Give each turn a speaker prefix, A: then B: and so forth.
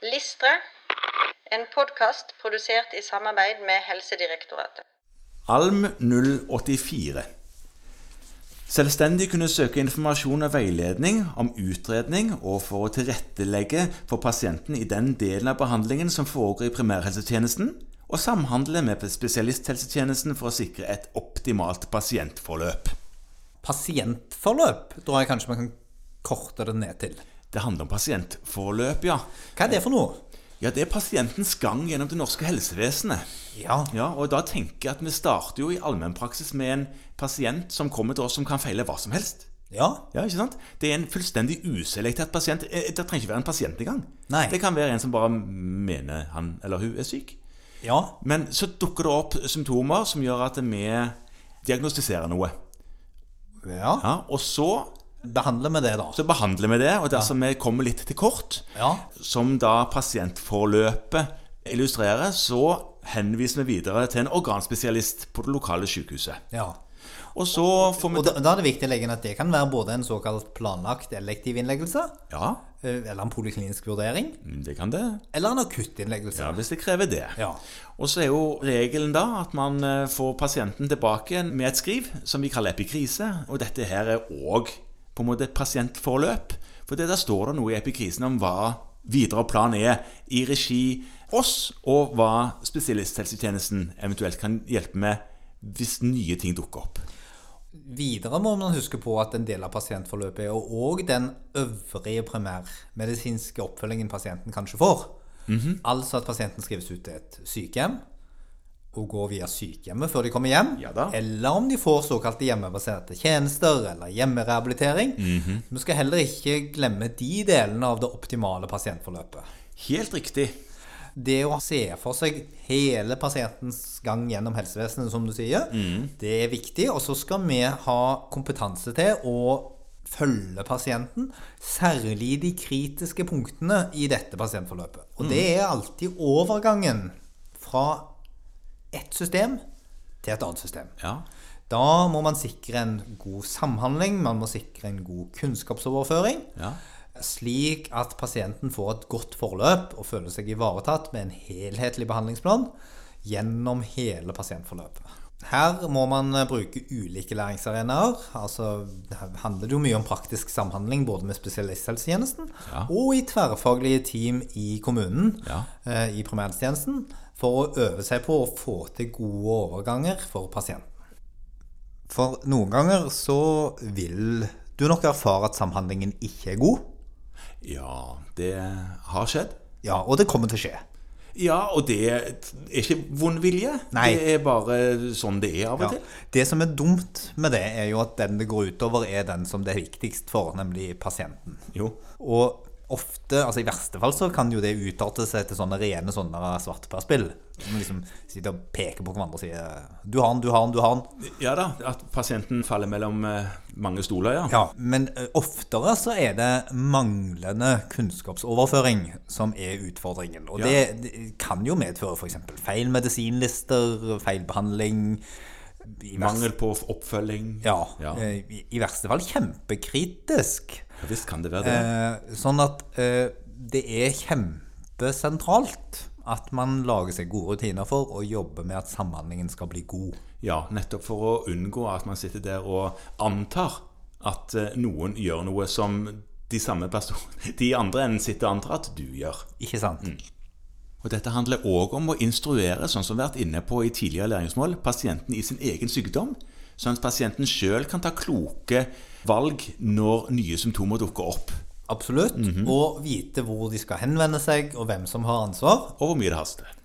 A: Listre, en podkast produsert i samarbeid med Helsedirektoratet.
B: Alm 084. Selvstendig kunne søke informasjon og veiledning om utredning og for å tilrettelegge for pasienten i den delen av behandlingen som foregår i primærhelsetjenesten, og samhandle med spesialisthelsetjenesten for å sikre et optimalt pasientforløp.
C: Pasientforløp tror jeg kanskje vi kan korte det ned til.
B: Det handler om pasientforløp, ja.
C: Hva er det for noe?
B: Ja, Det er pasientens gang gjennom det norske helsevesenet.
C: Ja.
B: Ja, og da tenker jeg at vi starter jo i allmennpraksis med en pasient som kommer til oss som kan feile hva som helst.
C: Ja.
B: Ja, ikke sant? Det er en fullstendig uselektert pasient. Eh, Det trenger ikke være en pasient engang.
C: Nei.
B: Det kan være en som bare mener han eller hun er syk.
C: Ja.
B: Men så dukker det opp symptomer som gjør at vi diagnostiserer noe.
C: ja.
B: Ja, og så,
C: Behandler vi det, da?
B: så behandler vi det, og dersom vi kommer litt til kort,
C: Ja.
B: som da pasientforløpet illustrerer, så henviser vi videre til en organspesialist på det lokale sykehuset.
C: ja.
B: Og så får vi
C: Og da, da er det viktig å legge inn at det kan være både en såkalt planlagt elektiv innleggelse,
B: Ja,
C: eh, eller en poliklinisk vurdering,
B: det kan det.
C: eller en akutt innleggelse.
B: Ja, Hvis det krever det.
C: Ja.
B: Og så er jo regelen da at man eh, får pasienten tilbake igjen med et skriv, som vi kaller epikrise. Og dette her er òg på en måte et pasientforløp. For det der står det noe i epikrisen om hva videre plan er i regi oss, og hva spesialisthelsetjenesten eventuelt kan hjelpe med hvis nye ting dukker opp.
C: Videre må man huske på at en del av pasientforløpet er jo òg den øvrige primærmedisinske oppfølgingen pasienten kanskje får.
B: Mhm.
C: Altså at pasienten skrives ut til et sykehjem og går via sykehjemmet før de kommer hjem.
B: Ja da.
C: Eller om de får såkalte hjemmebaserte tjenester eller hjemmerehabilitering.
B: Mhm.
C: Vi skal heller ikke glemme de delene av det optimale pasientforløpet.
B: Helt riktig.
C: Det å se for seg hele pasientens gang gjennom helsevesenet, som du sier, det er viktig. Og så skal vi ha kompetanse til å følge pasienten, særlig de kritiske punktene i dette pasientforløpet. Og det er alltid overgangen fra ett system til et annet system.
B: Ja.
C: Da må man sikre en god samhandling, man må sikre en god kunnskapsoverføring.
B: Ja.
C: Slik at pasienten får et godt forløp og føler seg ivaretatt med en helhetlig behandlingsplan gjennom hele pasientforløpet. Her må man eh, bruke ulike læringsarenaer. altså Her handler det jo mye om praktisk samhandling både med spesialisthelsetjenesten og i tverrfaglige team i kommunen
B: Ja.
C: eh, i primærhelsetjenesten for å øve seg på å få til gode overganger for pasienten. For noen ganger så vil du nok erfare at samhandlingen ikke er god.
B: ja, det har skjedd.
C: Ja, og det kommer til å skje.
B: Ja, og det er ikke vond vilje.
C: Nei.
B: Det er bare sånn det er av og
C: Ja.
B: til.
C: Det som er dumt med det, er jo at den det går utover, er den som det er viktigst for, nemlig pasienten.
B: Jo.
C: Og ofte, altså i verste fall, så kan jo det utarte seg til sånne rene sånne svartperspill. Som liksom sitter og peker på hverandre og sier 'du har den, du har den, du har den'.
B: Ja da, at pasienten faller mellom eh, mange stoler, ja.
C: Ja, men ø, oftere så er det manglende kunnskapsoverføring som er utfordringen. Og
B: Ja.
C: det, det kan jo medføre f.eks. feil medisinlister, feil behandling i verste-
B: Mangel på oppfølging.
C: ja,
B: ja.
C: eh, I, i verste fall kjempekritisk.
B: Ja, Visst kan det være det.
C: Eh, sånn at eh, det er kjempesentralt at man lager seg gode rutiner for og jobber med at samhandlingen skal bli god.
B: Ja, nettopp for å unngå at man sitter der og antar at eh, noen gjør noe som de samme personene De i andre enden sitter og antar at du gjør.
C: Ikke sant?
B: Mm. Og Dette handler òg om å instruere, sånn som vi har vært inne på i tidligere læringsmål, pasienten i sin egen sykdom, sånn at pasienten sjøl kan ta kloke valg når nye symptomer dukker opp, Mhm.
C: Absolutt. Og vite hvor de skal henvende seg, og hvem som har ansvar.
B: og hvor mye det haster.